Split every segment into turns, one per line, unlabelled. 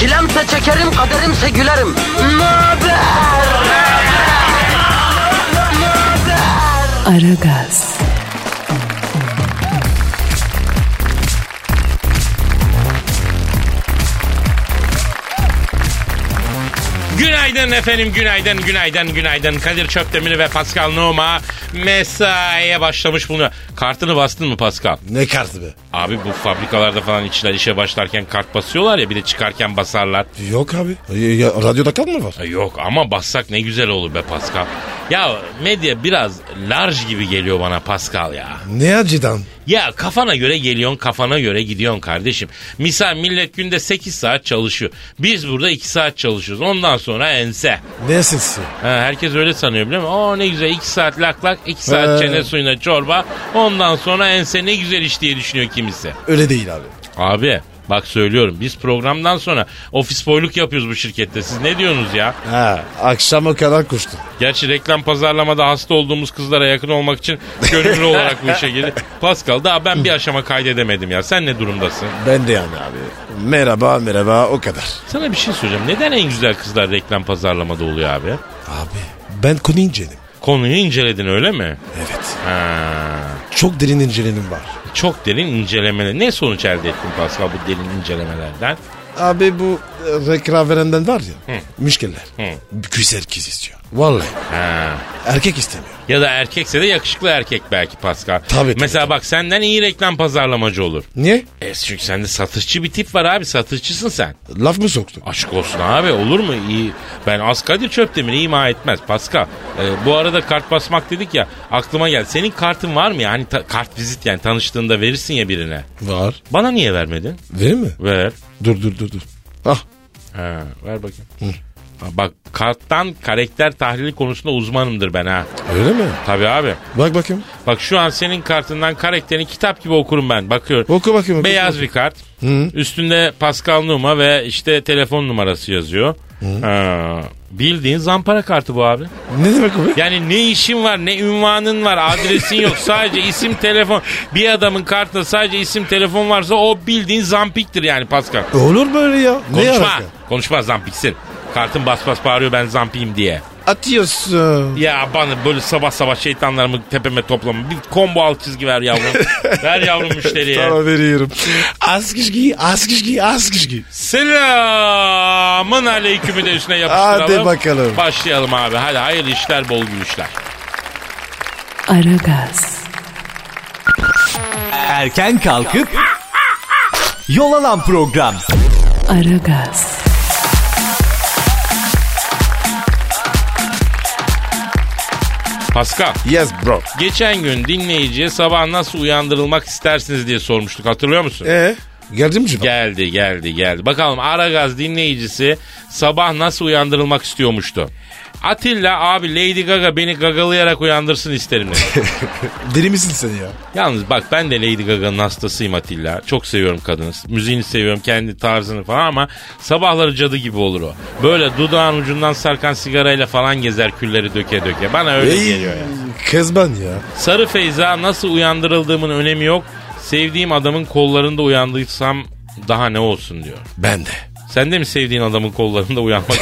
Çilemse çekerim, kaderimse gülerim. Möber!
Aragaz,
Günaydın efendim, günaydın, günaydın, günaydın. Kadir Çöptemir ve Pascal Numa mesaiye başlamış bulunuyor. Kartını bastın mı Pascal?
Ne kartı be?
Abi bu fabrikalarda falan işçiler işe başlarken kart basıyorlar ya bir de çıkarken basarlar.
Yok abi. Ya, ya, radyoda kart mı var?
E Yok ama bassak ne güzel olur be Pascal. Ya medya biraz large gibi geliyor bana Pascal ya.
Ne acıdan?
Ya kafana göre geliyorsun kafana göre gidiyorsun kardeşim. Misal millet günde 8 saat çalışıyor. Biz burada 2 saat çalışıyoruz. Ondan sonra ense.
Ne sesi?
Ha, herkes öyle sanıyor biliyor musun? Aa ne güzel 2 saat lak lak 2 saat
He.
çene suyuna çorba. Ondan sonra ense ne güzel iş diye düşünüyor kimisi.
Öyle değil abi.
Abi bak söylüyorum biz programdan sonra ofis boyluk yapıyoruz bu şirkette. Siz ne diyorsunuz ya?
Ha, akşama kadar koştum.
Gerçi reklam pazarlamada hasta olduğumuz kızlara yakın olmak için gönüllü olarak bu işe girdi. Pascal daha ben bir aşama kaydedemedim ya. Sen ne durumdasın?
Ben de yani abi. Merhaba merhaba o kadar.
Sana bir şey söyleyeceğim. Neden en güzel kızlar reklam pazarlamada oluyor abi?
Abi ben konu inceledim.
Konuyu inceledin öyle mi?
Evet.
Ha.
Çok derin incelenim var.
Çok derin incelemeler. Ne sonuç elde ettin Pascal bu derin incelemelerden?
Abi bu e, reklam verenden var ya. Müşkiller.
Hı.
Güzel kız istiyor. Vallahi.
Ha.
Erkek istemiyor.
Ya da erkekse de yakışıklı erkek belki Pascal.
Tabii, tabii,
Mesela bak senden iyi reklam pazarlamacı olur.
Niye?
E çünkü sende satışçı bir tip var abi satışçısın sen.
Laf mı soktun?
Aşk olsun abi olur mu? İyi. Ben az Kadir Çöpdemir'i ima etmez Pascal. E, bu arada kart basmak dedik ya aklıma geldi. Senin kartın var mı ya? Hani ta- kart vizit yani tanıştığında verirsin ya birine.
Var.
Bana niye vermedin?
Verir mi?
Ver.
Dur dur dur dur. Ah
Ha, ver bakayım. Ha, Bak karttan karakter tahlili konusunda uzmanımdır ben ha.
öyle mi?
Tabii abi.
Bak bakayım.
Bak şu an senin kartından karakterini kitap gibi okurum ben. Bakıyorum.
Oku bakayım. oku.
Beyaz bir kart. Üstünde Pascal Numa ve işte telefon numarası yazıyor. Ha, bildiğin zampara kartı bu abi.
Ne demek o be?
Yani ne işin var, ne ünvanın var, adresin yok. Sadece isim, telefon. Bir adamın kartında sadece isim, telefon varsa o bildiğin zampiktir yani Pascal.
Olur böyle ya.
Konuşma.
alaka?
Konuşma zampiksin. Kartın bas bas bağırıyor ben zampiyim diye.
Atıyorsun.
Ya bana böyle sabah sabah şeytanlarımı tepeme toplama. Bir combo alt çizgi ver yavrum. ver yavrum müşteriye.
Sana veriyorum. Az kişki, az kişki, az kişki.
Selamın aleykümü de üstüne yapıştıralım.
Hadi bakalım.
Başlayalım abi. Hadi hayırlı işler, bol gülüşler.
Aragaz,
Erken kalkıp yol alan program.
Aragaz,
Pascal.
Yes bro.
Geçen gün dinleyiciye sabah nasıl uyandırılmak istersiniz diye sormuştuk hatırlıyor musun?
Ee, geldi mi cevap?
Geldi geldi geldi. Bakalım Aragaz dinleyicisi sabah nasıl uyandırılmak istiyormuştu. Atilla abi Lady Gaga beni gagalayarak uyandırsın isterim dedi.
Deli misin sen ya?
Yalnız bak ben de Lady Gaga'nın hastasıyım Atilla. Çok seviyorum kadını. Müziğini seviyorum kendi tarzını falan ama sabahları cadı gibi olur o. Böyle dudağın ucundan sarkan sigarayla falan gezer külleri döke döke. Bana öyle geliyor ya.
Kezban ya.
Sarı Feyza nasıl uyandırıldığımın önemi yok. Sevdiğim adamın kollarında uyandıysam daha ne olsun diyor.
Ben de.
Sen de mi sevdiğin adamın kollarında uyanmak?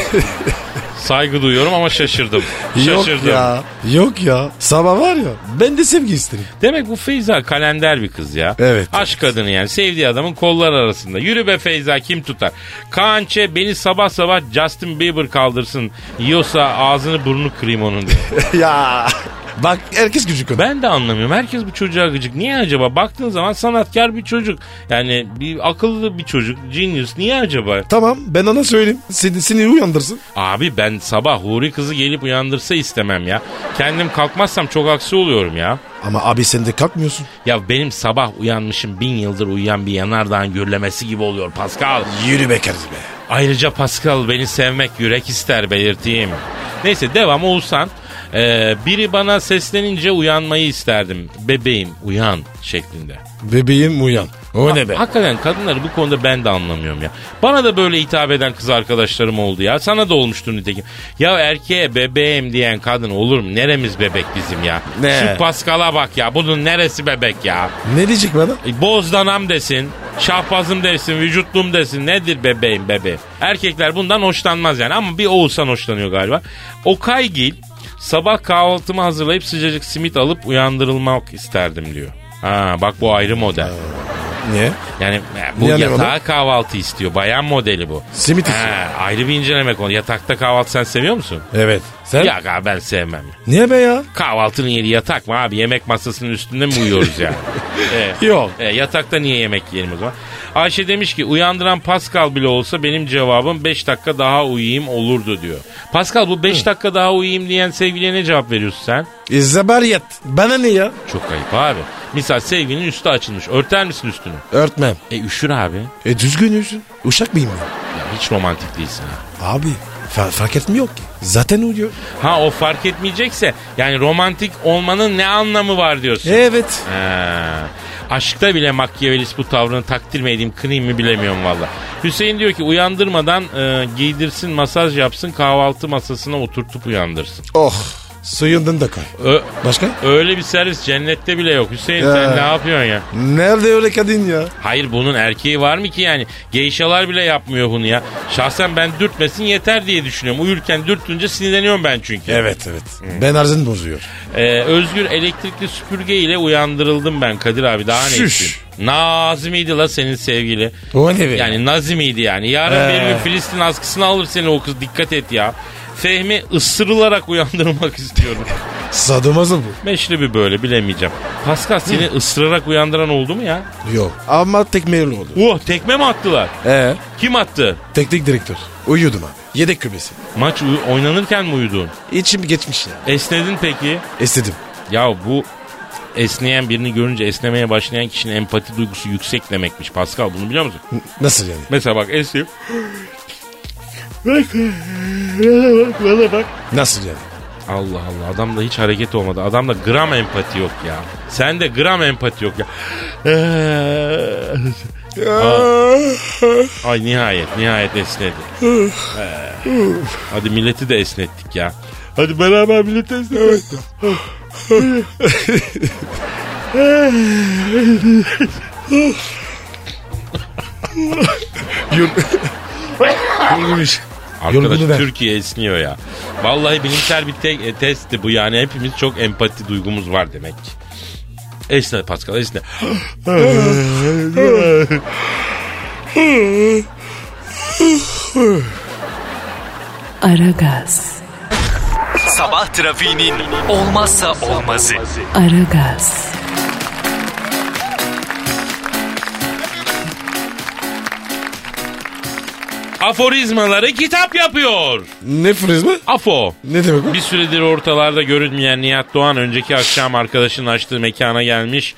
Saygı duyuyorum ama şaşırdım.
Yok
Şaşırdım.
ya. Yok ya. Sabah var ya. Ben de sevgi isterim.
Demek bu Feyza kalender bir kız ya.
Evet,
Aşk kadını yani sevdiği adamın kolları arasında. Yürü be Feyza kim tutar? Kaan Ç, beni sabah sabah Justin Bieber kaldırsın. Yiyorsa ağzını burnunu kırayım onun diyor.
ya. Bak herkes gücü konu.
Ben de anlamıyorum. Herkes bu çocuğa gıcık. Niye acaba? Baktığın zaman sanatkar bir çocuk. Yani bir akıllı bir çocuk. Genius. Niye acaba?
Tamam ben ona söyleyeyim. Seni, seni uyandırsın.
Abi ben sabah Huri kızı gelip uyandırsa istemem ya. Kendim kalkmazsam çok aksi oluyorum ya.
Ama abi sen de kalkmıyorsun.
Ya benim sabah uyanmışım bin yıldır uyuyan bir yanardağın gürlemesi gibi oluyor Pascal.
Yürü be kardeşim be.
Ayrıca Pascal beni sevmek yürek ister belirteyim. Neyse devam Oğuzhan. Ee, biri bana seslenince uyanmayı isterdim. Bebeğim uyan şeklinde.
Bebeğim uyan. O ne be?
Hakikaten kadınları bu konuda ben de anlamıyorum ya. Bana da böyle hitap eden kız arkadaşlarım oldu ya. Sana da olmuştur nitekim. Ya erkeğe bebeğim diyen kadın olur mu? Neremiz bebek bizim ya?
Ne?
Şu Paskal'a bak ya. Bunun neresi bebek ya?
Ne diyecek bana?
E, Bozdanam desin, şahbazım desin, vücutlum desin. Nedir bebeğim bebeğim? Erkekler bundan hoşlanmaz yani ama bir Oğuzhan hoşlanıyor galiba. Okaygil sabah kahvaltımı hazırlayıp sıcacık simit alıp uyandırılmak isterdim diyor. Ha bak bu ayrı model.
Niye?
Yani e, bu
Yani
yatağa
onu-
kahvaltı istiyor. Bayan modeli bu.
Simit istiyor.
Ha, ayrı bir inceleme konu. Yatakta kahvaltı sen seviyor musun?
Evet. Sen?
Ya abi ben sevmem.
Niye be ya?
Kahvaltının yeri yatak mı abi? Yemek masasının üstünde mi uyuyoruz yani? E,
Yok.
e, yatakta niye yemek yiyelim o zaman? Ayşe demiş ki uyandıran Pascal bile olsa benim cevabım 5 dakika daha uyuyayım olurdu diyor. Pascal bu 5 dakika daha uyuyayım diyen sevgiliye ne cevap veriyorsun sen?
İzzabariyet. Bana ne ya?
Çok ayıp abi. Misal sevgilinin üstü açılmış. Örter misin üstünü?
Örtmem.
E üşür abi.
E düzgün yüzün. Uşak mıyım ben?
Ya, hiç romantik değilsin ha.
Abi fa- fark etmiyor ki. Zaten uyuyor.
Ha o fark etmeyecekse yani romantik olmanın ne anlamı var diyorsun.
Evet.
Ha. Aşkta bile Machiavellist bu tavrını takdir mi edeyim kınayım mı bilemiyorum valla. Hüseyin diyor ki uyandırmadan e, giydirsin masaj yapsın kahvaltı masasına oturtup uyandırsın.
Oh. Suyundan da koy.
Ö-
Başka?
öyle bir servis cennette bile yok. Hüseyin
Ya.
sen ne yapıyorsun ya?
Nerede öyle kadın ya?
Hayır bunun erkeği var mı ki yani? Geyşalar bile yapmıyor bunu ya. Şahsen ben dürtmesin yeter diye düşünüyorum. Uyurken dürtünce sinirleniyorum ben çünkü.
Evet evet. Ben arzın bozuyor.
Ee, özgür elektrikli süpürge ile uyandırıldım ben Kadir abi daha ne
Şüş.
istiyorsun? Nazımıydı la senin sevgili.
O ne be?
Yani Nazimiydi yani. Yarın
Ee.
bir gün Filistin askısını alır seni o kız dikkat et ya. Fehmi ısırılarak uyandırmak istiyorum.
Sadomazo bu.
Meşrebi böyle bilemeyeceğim. Pascal seni ısırarak uyandıran oldu mu ya?
Yok. Ama tekmeyeli oldu.
Oh tekme mi attılar?
Ee?
Kim attı?
Teknik direktör. Uyuyordum abi. Yedek kübesi.
Maç uyu- oynanırken mi uyudun?
İçim geçmiş ya. E,
Esnedin peki?
Estedim.
Ya bu esneyen birini görünce esnemeye başlayan kişinin empati duygusu yüksek demekmiş Pascal bunu biliyor musun?
Nasıl yani?
Mesela bak esneyim.
Nasıl yani?
Allah Allah adamda hiç hareket olmadı. Adamda gram empati yok ya. Sende gram empati yok ya. Ee, Ay nihayet nihayet esnedi. Ee, Hadi milleti de esnettik ya. Hadi beraber milleti esnetelim.
Yorgunmuş.
Arkadaş
Yorgunu ver.
Türkiye esniyor ya. Vallahi bilimsel bir te- e, testti bu yani hepimiz çok empati duygumuz var demek. ki. Esne Pascal esne.
Aragaz,
Sabah trafiğinin olmazsa olmazı.
Aragaz,
Aforizmaları kitap yapıyor.
Ne frizmi?
Afo.
Ne demek o?
Bir süredir ortalarda görünmeyen Nihat Doğan önceki akşam arkadaşının açtığı mekana gelmiş.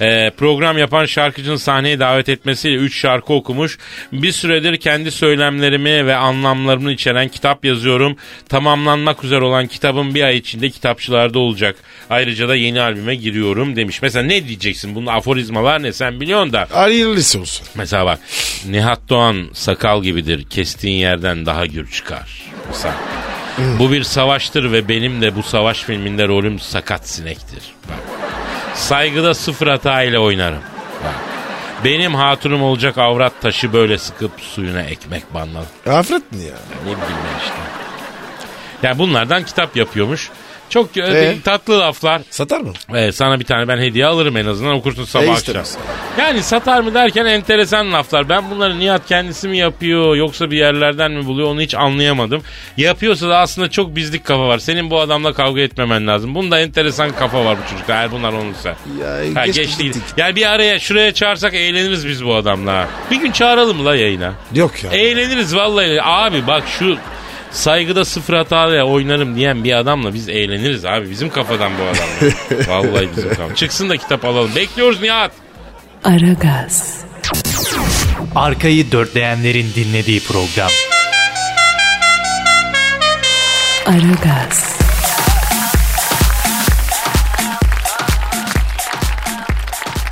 Ee, program yapan şarkıcının sahneye davet etmesiyle 3 şarkı okumuş. Bir süredir kendi söylemlerimi ve anlamlarımı içeren kitap yazıyorum. Tamamlanmak üzere olan kitabım bir ay içinde kitapçılarda olacak. Ayrıca da yeni albüme giriyorum demiş. Mesela ne diyeceksin? Bunun aforizmalar ne sen biliyorsun da.
Hayırlısı olsun.
Mesela bak Nihat Doğan sakal gibidir kestiğin yerden daha gür çıkar. Mesela. Bu bir savaştır ve benim de bu savaş filminde rolüm sakat sinektir. Bak. Saygıda sıfır hata ile oynarım. Bak. Benim hatunum olacak avrat taşı böyle sıkıp suyuna ekmek banlar.
Afret mi ya?
Ne bileyim ben işte. Yani bunlardan kitap yapıyormuş. Çok
Ee?
tatlı laflar.
Satar mı?
Ee, sana bir tane ben hediye alırım en azından okursun sabah
E,
akşam.
istemez.
Yani satar mı derken enteresan laflar. Ben bunları Nihat kendisi mi yapıyor yoksa bir yerlerden mi buluyor onu hiç anlayamadım. Yapıyorsa da aslında çok bizlik kafa var. Senin bu adamla kavga etmemen lazım. Bunda enteresan kafa var bu çocukta eğer bunlar olursa.
Ya,
ha,
geç
geç değil.
gittik.
Yani bir araya şuraya çağırsak eğleniriz biz bu adamla. Bir gün çağıralım la yayına.
Yok ya.
Eğleniriz vallahi. Abi bak şu saygıda sıfır hataya oynarım diyen bir adamla biz eğleniriz abi. Bizim kafadan bu adam. vallahi bizim kafadan. Çıksın da kitap alalım. Bekliyoruz Nihat.
Aragaz,
Arkayı dörtleyenlerin dinlediği program.
Aragaz,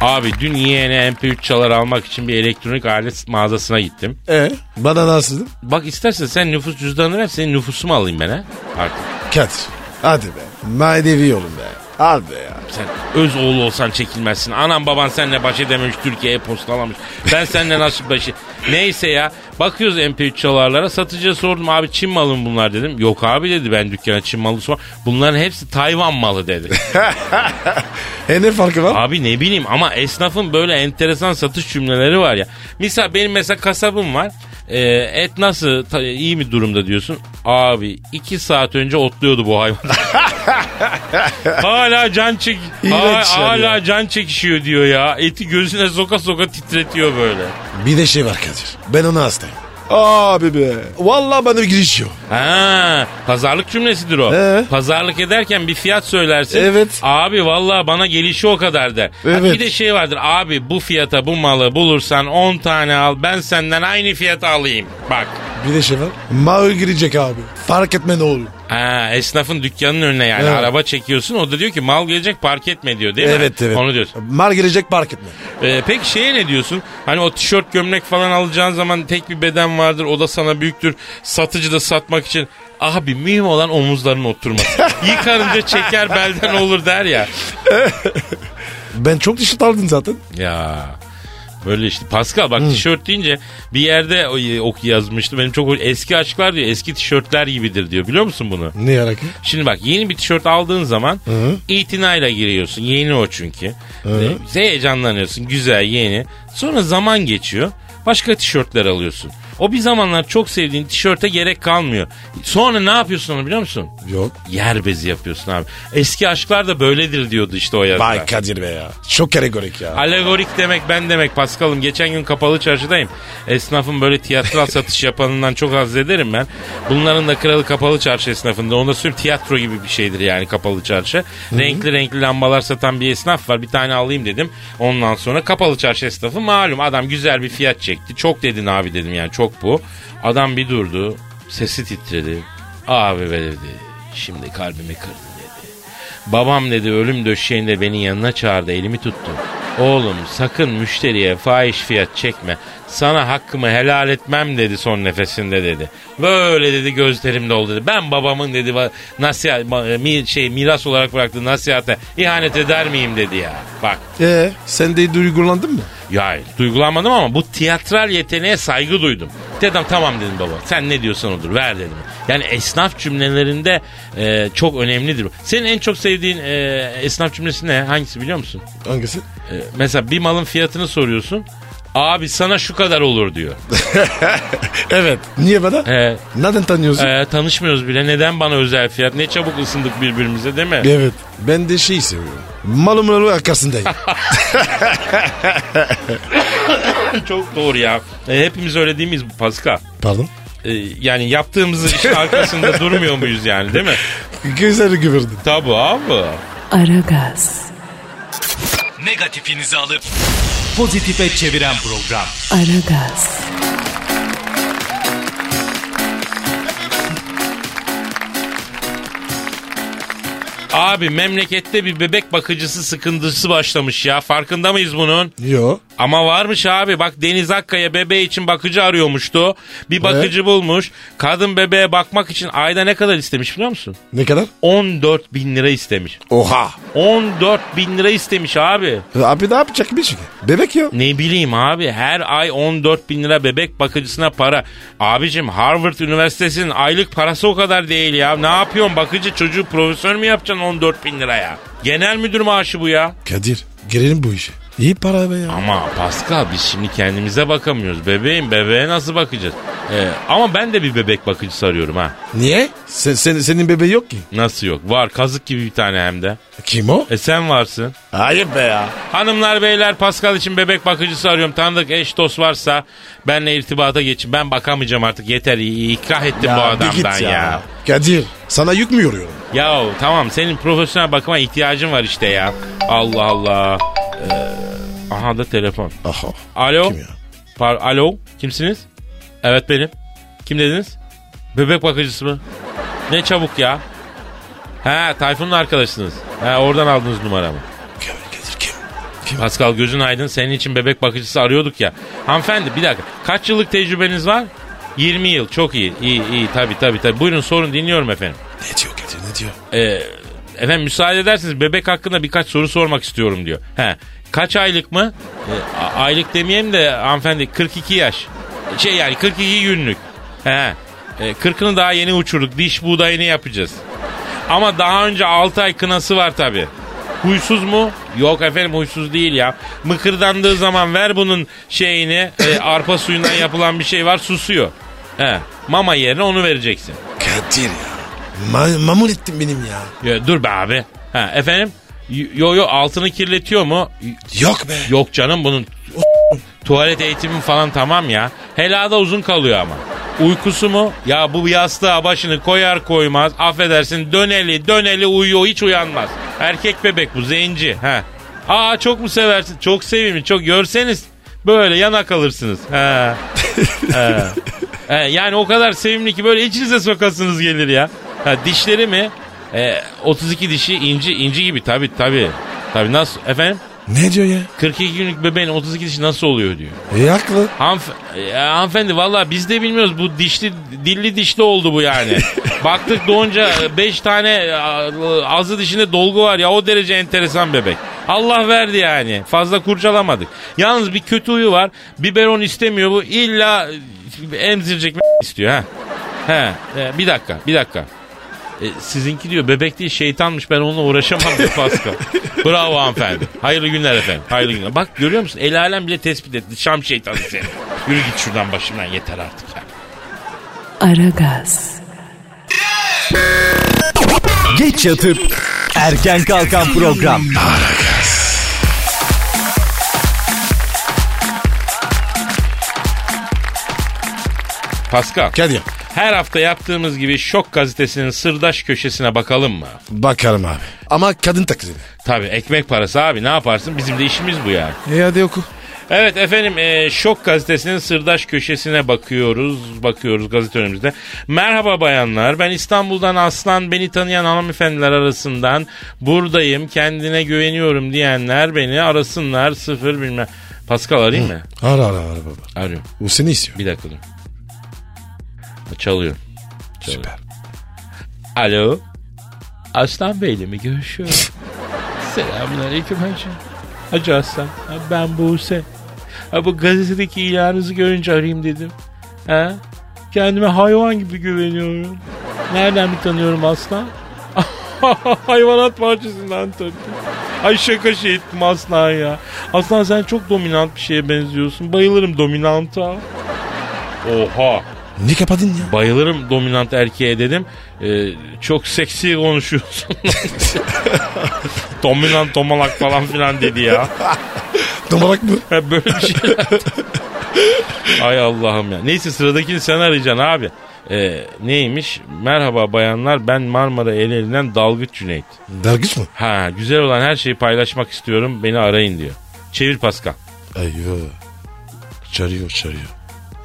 Abi dün yeğene MP3 çalar almak için bir elektronik alet mağazasına gittim.
E bana nasıl?
Bak istersen sen nüfus cüzdanını ver senin nüfusumu alayım ben ha. Artık
Kadir. Hadi be. Manevi olun be. Al be ya.
sen öz oğlu olsan çekilmezsin. Anam baban seninle baş edememiş Türkiye'ye postalamış. Ben seninle nasıl başı... Neyse ya bakıyoruz MP3 çalarlara satıcıya sordum abi Çin malı mı bunlar dedim. Yok abi dedi ben dükkana Çin malı sor. Bunların hepsi Tayvan malı dedi.
E ne farkı var?
Abi ne bileyim ama esnafın böyle enteresan satış cümleleri var ya. Misal benim mesela kasabım var. Ee, et nasıl ta- iyi mi durumda diyorsun. Abi iki saat önce otluyordu bu hayvan. hala can çek
İğrenç
Ha-
yani
hala
ya.
can çekişiyor diyor ya. Eti gözüne soka soka titretiyor böyle.
Bir de şey var Kadir. Ben ona hastayım. Abi be. Vallahi bana girişiyor.
Ha, pazarlık cümlesidir o.
Ee?
Pazarlık ederken bir fiyat söylersin.
Evet.
Abi vallahi bana gelişi o kadar der. Ha,
Evet.
bir de şey vardır. Abi bu fiyata bu malı bulursan 10 tane al. Ben senden aynı fiyata alayım. Bak.
Bir de şey var. Mavi girecek abi. Fark etme ne olur.
Ha, esnafın dükkanının önüne yani
Evet.
araba çekiyorsun. O da diyor ki mal gelecek park etme diyor değil mi?
Evet evet.
Onu diyorsun.
Mal girecek fark etme.
Ee, peki şeye ne diyorsun? Hani o tişört gömlek falan alacağın zaman tek bir beden vardır. O da sana büyüktür. Satıcı da satmak için. Abi mühim olan omuzların oturması. Yıkarınca çeker belden olur der ya.
Ben çok dişit aldım zaten.
Ya böyle işte Pascal bak tişört deyince bir yerde o- ok yazmıştı. Benim çok hoş- eski aşklar diyor eski tişörtler gibidir diyor. Biliyor musun bunu?
Ne yarak?
Şimdi bak yeni bir tişört aldığın zaman itinayla giriyorsun. Yeni o çünkü. Ee, heyecanlanıyorsun. Güzel yeni. Sonra zaman geçiyor. Başka tişörtler alıyorsun. O bir zamanlar çok sevdiğin tişörte gerek kalmıyor. Sonra ne yapıyorsun onu biliyor musun?
Yok.
Yer bezi yapıyorsun abi. Eski aşklar da böyledir diyordu işte o yazda.
Vay Kadir be ya. Çok kategorik ya.
Alegorik demek ben demek Paskal'ım. Geçen gün kapalı çarşıdayım. Esnafın böyle tiyatral satış yapanından çok haz ederim ben. Bunların da kralı kapalı çarşı esnafında. Onda söyleyeyim tiyatro gibi bir şeydir yani kapalı çarşı. Renkli renkli lambalar satan bir esnaf var. Bir tane alayım dedim. Ondan sonra kapalı çarşı esnafı malum adam güzel bir fiyat çekti. Çok dedin abi dedim yani çok bu. Adam bir durdu. Sesi titredi. Abi be dedi. Şimdi kalbimi kırdın dedi. Babam dedi ölüm döşeğinde beni yanına çağırdı elimi tuttu. Oğlum sakın müşteriye fahiş fiyat çekme. Sana hakkımı helal etmem dedi son nefesinde dedi. Böyle dedi gözlerim doldu dedi. Ben babamın dedi va- nasihat ma- mi- şey miras olarak bıraktığı nasihate ihanet eder miyim dedi ya. Bak
Ee, sen de duygulandın mı?
ya duygulanmadım ama bu tiyatral yeteneğe saygı duydum. Dedim tamam dedim baba sen ne diyorsan odur ver dedim. Yani esnaf cümlelerinde e, çok önemlidir. bu. Senin en çok sevdiğin e, esnaf cümlesi ne? Hangisi biliyor musun?
Hangisi?
E, mesela bir malın fiyatını soruyorsun. Abi sana şu kadar olur diyor.
Evet. Niye bana?
E,
Neden tanıyorsun?
e, tanışmıyoruz bile neden bana özel fiyat? Ne çabuk ısındık birbirimize değil mi?
Evet. Ben de şey seviyorum. Malım malı arkasındayım.
çok doğru ya. E, hepimiz öyle değil miyiz Pascal?
Pardon.
E, yani yaptığımızın işin arkasında durmuyor muyuz yani değil mi?
Güzel güvürdün.
Tabii abi.
Aragaz,
Negatifinizi alıp pozitife çeviren program.
Aragaz,
Abi memlekette bir bebek bakıcısı sıkıntısı başlamış ya. Farkında mıyız bunun?
Yo.
Ama varmış abi bak Deniz Akkaya bebeği için bakıcı arıyormuştu. Bir bakıcı bulmuş. Kadın bebeğe bakmak için ayda ne kadar istemiş biliyor musun?
Ne kadar?
14 bin lira istemiş.
Oha.
14 bin lira istemiş abi.
Abi ne yapacak bir şey? Bebek ya.
Ne bileyim abi her ay 14 bin lira bebek bakıcısına para. Abicim Harvard Üniversitesi'nin aylık parası o kadar değil ya. Ne yapıyorsun bakıcı çocuğu profesör mü yapacaksın 14 bin liraya? Genel müdür maaşı bu ya.
Kadir girelim bu işe. İyi para be ya.
Ama Pascal biz şimdi kendimize bakamıyoruz. Bebeğim bebeğe nasıl bakacağız? Ee, ama ben de bir bebek bakıcısı arıyorum ha.
Niye? Sen, sen- senin bebeği yok ki.
Nasıl yok? Var kazık gibi bir tane hem de.
Kim o?
E sen varsın.
Hayır be ya.
Hanımlar beyler Pascal için bebek bakıcısı arıyorum. Tanıdık eş dost varsa benle irtibata geçin. Ben bakamayacağım artık yeter. İ- İkrah ettim bu
bir
adamdan
git
ya. ya.
Kadir sana yük mü yoruyorum?
Yahu tamam senin profesyonel bakıma ihtiyacın var işte ya. Allah Allah. Ee, aha da telefon.
Aha.
Alo.
Kim ya?
Par Alo. Kimsiniz? Evet benim. Kim dediniz? Bebek bakıcısı mı? Ne çabuk ya. He Tayfun'la arkadaşsınız. He oradan aldınız numaramı.
Kim Kadir kim? Kim?
Pascal gözün aydın senin için bebek bakıcısı arıyorduk ya. Hanımefendi bir dakika kaç yıllık tecrübeniz var? 20 yıl çok iyi. İyi iyi tabii tabii tabii. Buyurun sorun dinliyorum efendim.
Ne diyor Kadir ne diyor?
Ee, efendim müsaade ederseniz bebek hakkında birkaç soru sormak istiyorum diyor. He. Kaç aylık mı? Ee, a- aylık demeyeyim de hanımefendi 42 yaş. Şey yani 42 günlük. He. Ee, 40'ını daha yeni uçurduk. Diş buğdayını yapacağız. Ama daha önce 6 ay kınası var tabi. Huysuz mu? Yok efendim huysuz değil ya. Mıkırdandığı zaman ver bunun şeyini. e, arpa suyundan yapılan bir şey var susuyor. He. Mama yerine onu vereceksin.
Kadir ya. Ma- mamul ettin benim ya.
Ya dur be abi. Ha efendim? Y- Yo yo altını kirletiyor mu? Y-
Yok be.
Yok canım bunun tuvalet eğitimi falan tamam ya. Helada uzun kalıyor ama. Uykusu mu? Ya bu yastığa başını koyar koymaz affedersin döneli döneli uyuyor hiç uyanmaz. Erkek bebek bu zenci. Ha. Aa çok mu seversin? Çok sevimli çok görseniz böyle yana kalırsınız. Ha. Ha. Ha, yani o kadar sevimli ki böyle içinize sokasınız gelir ya. Ha, dişleri mi? E, 32 dişi inci inci gibi tabi tabi. Tabi nasıl efendim?
Ne diyor ya?
42 günlük bebeğin 32 dişi nasıl oluyor diyor.
E haklı.
Hanf e, hanımefendi valla biz de bilmiyoruz bu dişli dilli dişli oldu bu yani. Baktık doğunca 5 tane e, ağzı dişinde dolgu var ya o derece enteresan bebek. Allah verdi yani fazla kurcalamadık. Yalnız bir kötü huyu var biberon istemiyor bu illa e, emzirecek istiyor ha. He e, bir dakika bir dakika. E, sizinki diyor bebek değil şeytanmış ben onunla uğraşamam diyor Pascal. Bravo hanımefendi. Hayırlı günler efendim. Hayırlı günler. Bak görüyor musun? El alem bile tespit etti. Şam şeytanı seni. Yürü git şuradan başımdan yeter artık ya.
Aragaz,
Geç yatıp erken kalkan program.
Pascal.
Kadir.
Her hafta yaptığımız gibi Şok gazetesinin sırdaş köşesine bakalım mı?
Bakarım abi. Ama kadın taklidi.
Tabii ekmek parası abi ne yaparsın? Bizim de işimiz bu yani.
E hadi oku.
Evet efendim e, Şok Gazetesi'nin sırdaş köşesine bakıyoruz. Bakıyoruz gazete önümüzde. Merhaba bayanlar ben İstanbul'dan Aslan beni tanıyan hanımefendiler arasından buradayım kendine güveniyorum diyenler beni arasınlar sıfır bilmem. Pascal arayayım mı?
Ara ara ara baba.
Arıyorum
O seni istiyor.
bir dakika dur. Çalıyor. Çalıyor.
Süper.
Alo. Aslan Bey'le mi görüşüyorum? Selamünaleyküm hacı. Hacı Aslan. ha Ben Buse. Ha bu gazetedeki ilanınızı görünce arayayım dedim. Ha? Kendime hayvan gibi güveniyorum. Nereden mi tanıyorum aslan? Hayvanat bahçesinden tabii. Ay şaka şey ettim aslan ya. Aslan sen çok dominant bir şeye benziyorsun. Bayılırım dominanta. Oha.
Ne kapadın ya?
Bayılırım dominant erkeğe dedim. Ee, çok seksi konuşuyorsun. dominant domalak falan filan dedi ya.
Domalak mı?
Ha, Böyle bir şeyler. Ay Allah'ım ya. Neyse sıradakini sen arayacaksın abi. Ee, neymiş? Merhaba bayanlar ben Marmara Ereğli'nden Dalgıç Cüneyt.
Dergiç mi?
Ha güzel olan her şeyi paylaşmak istiyorum beni arayın diyor. Çevir Pascal.
Ayo. Çarıyor çarıyor.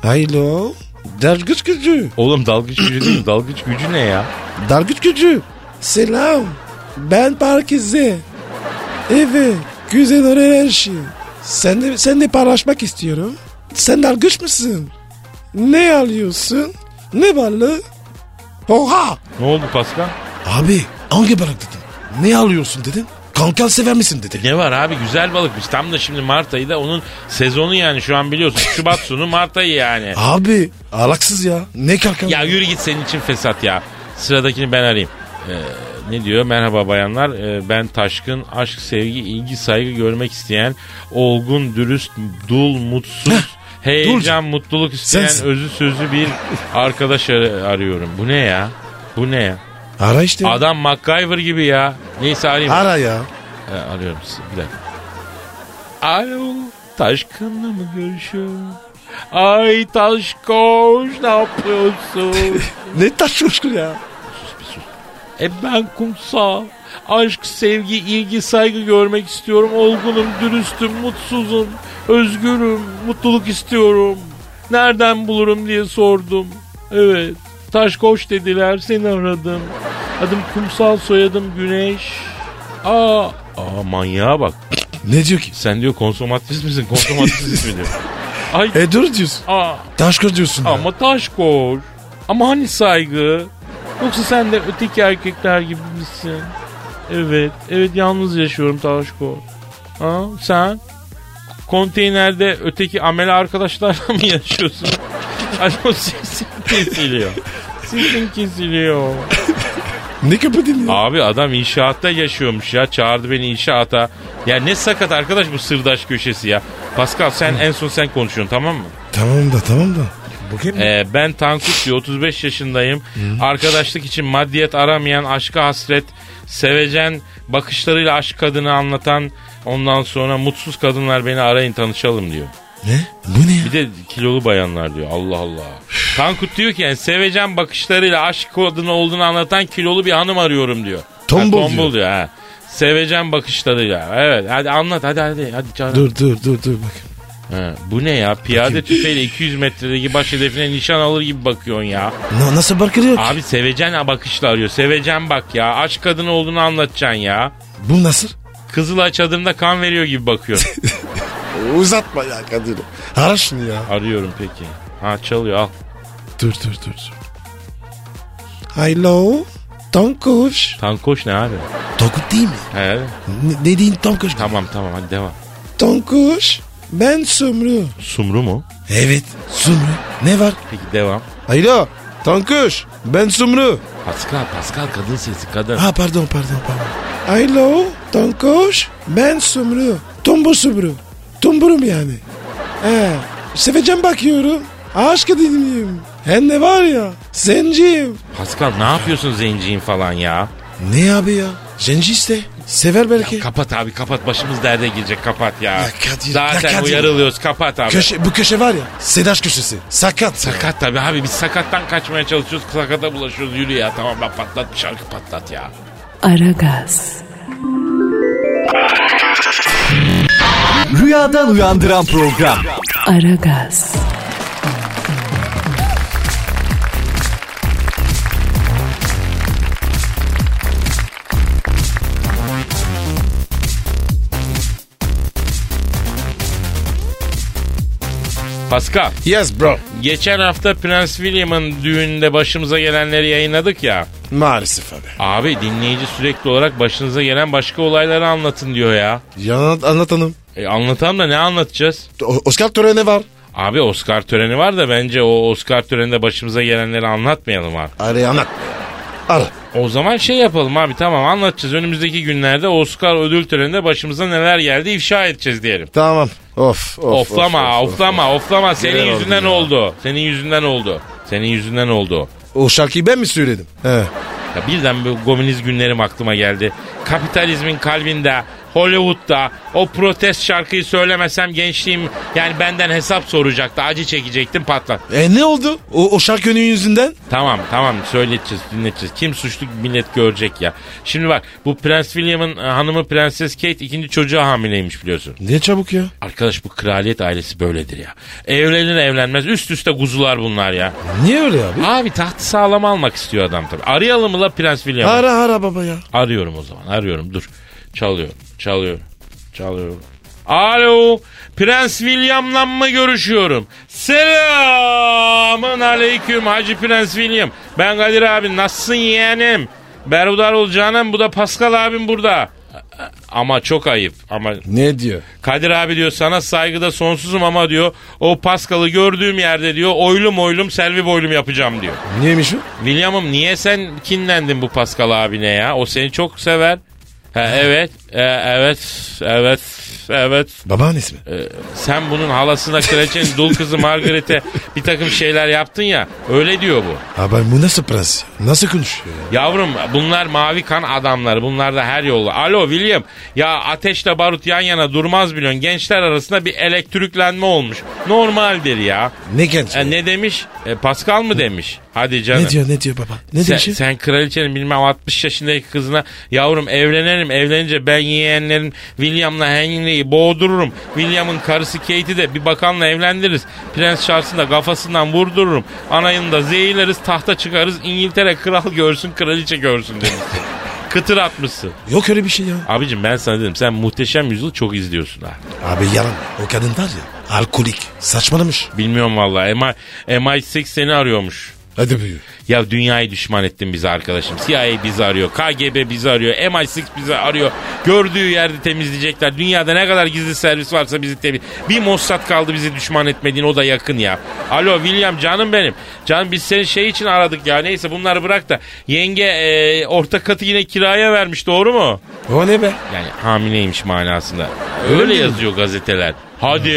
Alo. Dergiç gücü.
Oğlum dalgıç gücü değil dalgıç gücü ne ya?
Dergiç gücü. Selam. Ben Parkize. Evet. Güzel olan her şey. Sen de, sen de paylaşmak istiyorum. Sen dergiç misin? Ne alıyorsun? Ne balığı? Oha.
Ne oldu Pascal?
Abi hangi balık dedim? Ne alıyorsun dedim? Kankan sever misin dedi.
Ne var abi güzel balıkmış. Tam da şimdi Mart ayı da onun sezonu yani şu an biliyorsun. Şubat sonu Mart ayı yani.
Abi alaksız ya. Ne kankan?
ya yürü git senin için fesat ya. Sıradakini ben arayayım. Ee, ne diyor? Merhaba bayanlar. Ee, ben Taşkın. Aşk, sevgi, ilgi, saygı görmek isteyen, olgun, dürüst, dul, mutsuz, heyecan, mutluluk isteyen,
Sensin.
özü sözü bir arkadaş ar- arıyorum. Bu ne ya? Bu ne ya?
Ara işte.
Adam MacGyver gibi ya. Neyse arayayım.
Ara ya.
E, arıyorum sizi bir dakika. Alo Taşkın'la mı görüşüyorum? Ay Taşkoş ne yapıyorsun?
Ne taş kuşku ya.
e ben kumsal. Aşk, sevgi, ilgi, saygı görmek istiyorum. Olgunum, dürüstüm, mutsuzum, özgürüm, mutluluk istiyorum. Nereden bulurum diye sordum. Evet. Taş koş dediler seni aradım. Adım kumsal soyadım güneş. Aa, aa manyağa bak.
Ne diyor ki?
Sen diyor konsomatris misin? Konsomatris ismi diyor. Ay
E dur diyorsun.
aa,
Taş kır diyorsun. ya.
ama taş koş. Ama hani saygı? Yoksa sen de öteki erkekler gibi misin? Evet, evet yalnız yaşıyorum taş koş. Ha, sen? Konteynerde öteki amele arkadaşlarla mı yaşıyorsun? Ay o sesin kesiliyor. Sesin kesiliyor.
Ne kapatın ya?
Abi adam inşaatta yaşıyormuş ya. Çağırdı beni inşaata. Ya ne sakat arkadaş bu sırdaş köşesi ya. Pascal sen en son sen konuşuyorsun tamam mı?
Tamam da tamam da. Bakayım.
Ee, ben Tankut diyor 35 yaşındayım. Arkadaşlık için maddiyet aramayan, aşka hasret, sevecen bakışlarıyla aşk kadını anlatan ondan sonra mutsuz kadınlar beni arayın tanışalım diyor.
Ne? Bu ne ya?
Bir de kilolu bayanlar diyor. Allah Allah. Tankut diyor ki yani sevecen bakışlarıyla aşk kadını olduğunu anlatan kilolu bir hanım arıyorum diyor.
Tombul
ha,
diyor.
tombul diyor. ha. Sevecen bakışlarıyla. Evet hadi anlat hadi hadi. hadi canım.
Dur dur dur dur bak.
Ha, bu ne ya? Piyade tüfeğiyle 200 metredeki baş hedefine nişan alır gibi bakıyorsun ya.
Na, nasıl bakılıyor?
Abi sevecen bakışla arıyor. Sevecen bak ya. Aşk kadını olduğunu anlatacaksın ya.
Bu nasıl?
Kızıl aç adımda kan veriyor gibi bakıyor.
Uzatma ya Kadir. Ara şunu ya.
Arıyorum peki. Ha çalıyor al.
Dur dur dur. dur. Hello. Tonkuş.
Tankoş ne abi?
Tonkuş değil mi?
He,
Ne, dediğin Tonkuş.
tamam tamam hadi devam.
Tonkuş. Ben Sumru.
Sumru mu?
Evet Sumru. Ne var?
Peki devam.
Alo. Tonkuş. Ben Sumru.
Pascal Pascal kadın sesi kadın.
Ha pardon pardon pardon. Alo. Tonkuş. Ben Sumru. Tumbu Sumru. Tumburum yani. He. Seveceğim bakıyorum. Aşk dinleyeyim. Hem ne var ya. Zenciyim.
Pascal ne yapıyorsun zenciğin falan ya?
Ne abi ya? Zenci iste. Sever belki.
Kapat abi kapat başımız derde girecek kapat ya.
Ya Kadir,
Zaten
ya Kadir.
uyarılıyoruz kapat abi.
Köşe, bu köşe var ya. Sedaş köşesi. Sakat. Sakat.
Sakat tabii abi biz sakattan kaçmaya çalışıyoruz. Sakata bulaşıyoruz yürü ya tamam lan patlat bir şarkı patlat ya.
Aragaz,
Rüyadan uyandıran program.
Aragaz,
Pascal
Yes bro.
geçen hafta Prens William'ın düğününde başımıza gelenleri yayınladık ya.
Maalesef abi.
Abi dinleyici sürekli olarak başınıza gelen başka olayları anlatın diyor ya.
Ya anlatanım.
E, anlatalım da ne anlatacağız?
O- Oscar töreni var.
Abi Oscar töreni var da bence o Oscar töreninde başımıza gelenleri anlatmayalım abi.
Araya anlat. Al.
O zaman şey yapalım abi tamam anlatacağız. Önümüzdeki günlerde Oscar ödül töreninde başımıza neler geldi ifşa edeceğiz diyelim.
Tamam. Of. of
oflama,
of, of,
oflama, oflama. Senin
Neler oldu
yüzünden
ya?
oldu. Senin yüzünden oldu. Senin yüzünden oldu.
O şarkıyı ben mi söyledim? He.
Ya birden bu komünist günlerim aklıma geldi. Kapitalizmin kalbinde, Hollywood'da o protest şarkıyı söylemesem gençliğim yani benden hesap soracaktı. Acı çekecektim patlat.
E ne oldu? O, o şarkının yüzünden?
Tamam tamam söyleteceğiz dinleteceğiz. Kim suçlu millet görecek ya. Şimdi bak bu Prens William'ın e, hanımı Prenses Kate ikinci çocuğa hamileymiş biliyorsun.
Ne çabuk ya?
Arkadaş bu kraliyet ailesi böyledir ya. Evlenir evlenmez üst üste kuzular bunlar ya.
Niye öyle abi?
Abi tahtı sağlam almak istiyor adam tabii. Arayalım mı la Prens William'ı?
Ara ara baba ya.
Arıyorum o zaman arıyorum dur. Çalıyor çalıyor çalıyor. Alo Prens William'la mı görüşüyorum? Selamın aleyküm Hacı Prens William. Ben Kadir abi nasılsın yeğenim? Berudar ol canım bu da Pascal abim burada. Ama çok ayıp ama
Ne diyor?
Kadir abi diyor sana saygıda sonsuzum ama diyor o Pascal'ı gördüğüm yerde diyor oylum oylum selvi boylum yapacağım diyor.
Neymiş o?
William'ım niye sen kinlendin bu Pascal abine ya? O seni çok sever. Ha, evet, e, evet, evet, evet.
Babaannesi mi?
E, sen bunun halasına kraliçenin dul kızı Margaret'e bir takım şeyler yaptın ya. Öyle diyor bu.
Abi bu nasıl prens? ya? Nasıl konuşuyor ya?
Yavrum bunlar mavi kan adamları. Bunlar da her yolla. Alo William. Ya ateşle barut yan yana durmaz biliyorsun. Gençler arasında bir elektriklenme olmuş. Normaldir ya.
Ne genç?
E, ne demiş? E, Pascal mı demiş? Hadi canım.
Ne diyor ne diyor baba? Ne
Sen,
diyor şimdi?
sen kraliçenin bilmem 60 yaşındaki kızına yavrum evlenelim evlenince ben yeğenlerim William'la Henry'yi boğdururum. William'ın karısı Kate'i de bir bakanla evlendiririz. Prens Charles'ın da kafasından vurdururum. Anayını da zehirleriz tahta çıkarız. İngiltere kral görsün kraliçe görsün demişsin. Kıtır atmışsın.
Yok öyle bir şey ya.
Abicim ben sana dedim sen muhteşem yüzyıl çok izliyorsun ha.
Abi yalan. O kadın var ya alkolik. Saçmalamış.
Bilmiyorum vallahi MI, MI6 seni arıyormuş.
Hadi buyur.
Ya dünyayı düşman ettin bize arkadaşım. CIA bizi arıyor, KGB bizi arıyor, MI6 bizi arıyor. Gördüğü yerde temizleyecekler. Dünyada ne kadar gizli servis varsa bizi temiz. Bir Mossad kaldı bizi düşman etmediğin o da yakın ya. Alo William canım benim. Canım biz seni şey için aradık ya. Neyse bunları bırak da. Yenge e, orta katı yine kiraya vermiş doğru mu?
O ne be?
Yani hamileymiş manasında. Öyle yazıyor gazeteler. Hadi.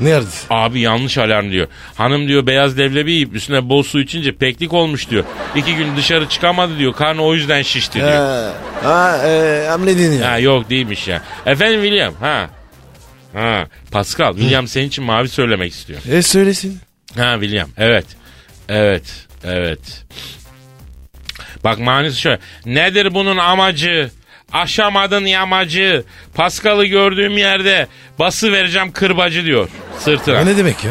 Nerede?
Abi yanlış alarm diyor. Hanım diyor beyaz devlebi yiyip üstüne bol su içince peklik olmuş diyor. İki gün dışarı çıkamadı diyor. Karnı o yüzden şişti diyor.
Ha, e, hamledin ya.
Ha yok değilmiş ya. Efendim William ha. Ha Pascal William senin için mavi söylemek istiyor.
E söylesin.
Ha William evet. Evet. Evet. Bak manisi şöyle. Nedir bunun amacı? Aşamadın yamacı. Paskal'ı gördüğüm yerde bası vereceğim kırbacı diyor sırtına.
O ne demek ya?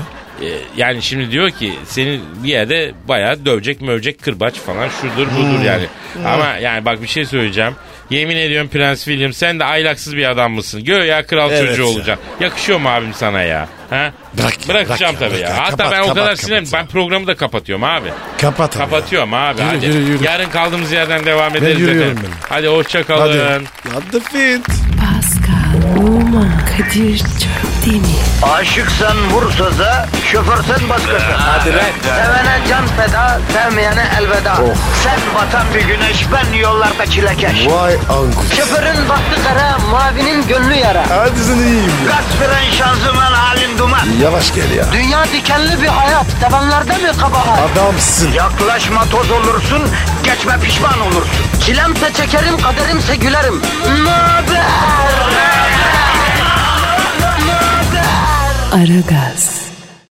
E, yani şimdi diyor ki seni bir yerde bayağı dövecek mövecek kırbaç falan şudur
Hmm.
budur yani. Ama yani bak bir şey söyleyeceğim. Yemin ediyorum Prens William sen de aylaksız bir adam mısın? Gör ya kral
Evet
çocuğu
ya.
olacaksın. Yakışıyor mu abim sana ya? Ha?
Bırak ya,
Bırakacağım
bırak ya,
tabii ya.
bırak ya.
Hatta
Kapat,
ben o
kapat,
kadar
kapat
sinirim.
ya.
Ben programı da kapatıyorum abi.
Kapat abi.
Kapatıyorum abi.
Yürü,
hadi.
yürü, yürü.
Yarın kaldığımız yerden devam ederiz
yürüyorum
efendim.
ben.
Hadi
Hadi.
hoşçakalın.
Hadi fit.
Pascal, Oman, Kadir çok değil mi?
Aşıksan vursa da, şoförsen başkasın. Hadi Sevene can feda, sevmeyene elveda. Sen batan bir güneş, ben yollarda çilekeş.
Vay anku.
Şoförün baktı kara, mavinin gönlü yara.
Hadi sen iyiyim ya.
Kasperen şanzıman halin duman.
Yavaş gel ya.
Dünya dikenli bir hayat, sevenlerde mi kabahar?
Adamsın.
Yaklaşma toz olursun, geçme pişman olursun. Çilemse çekerim, kaderimse gülerim. Möber!
Aragaz.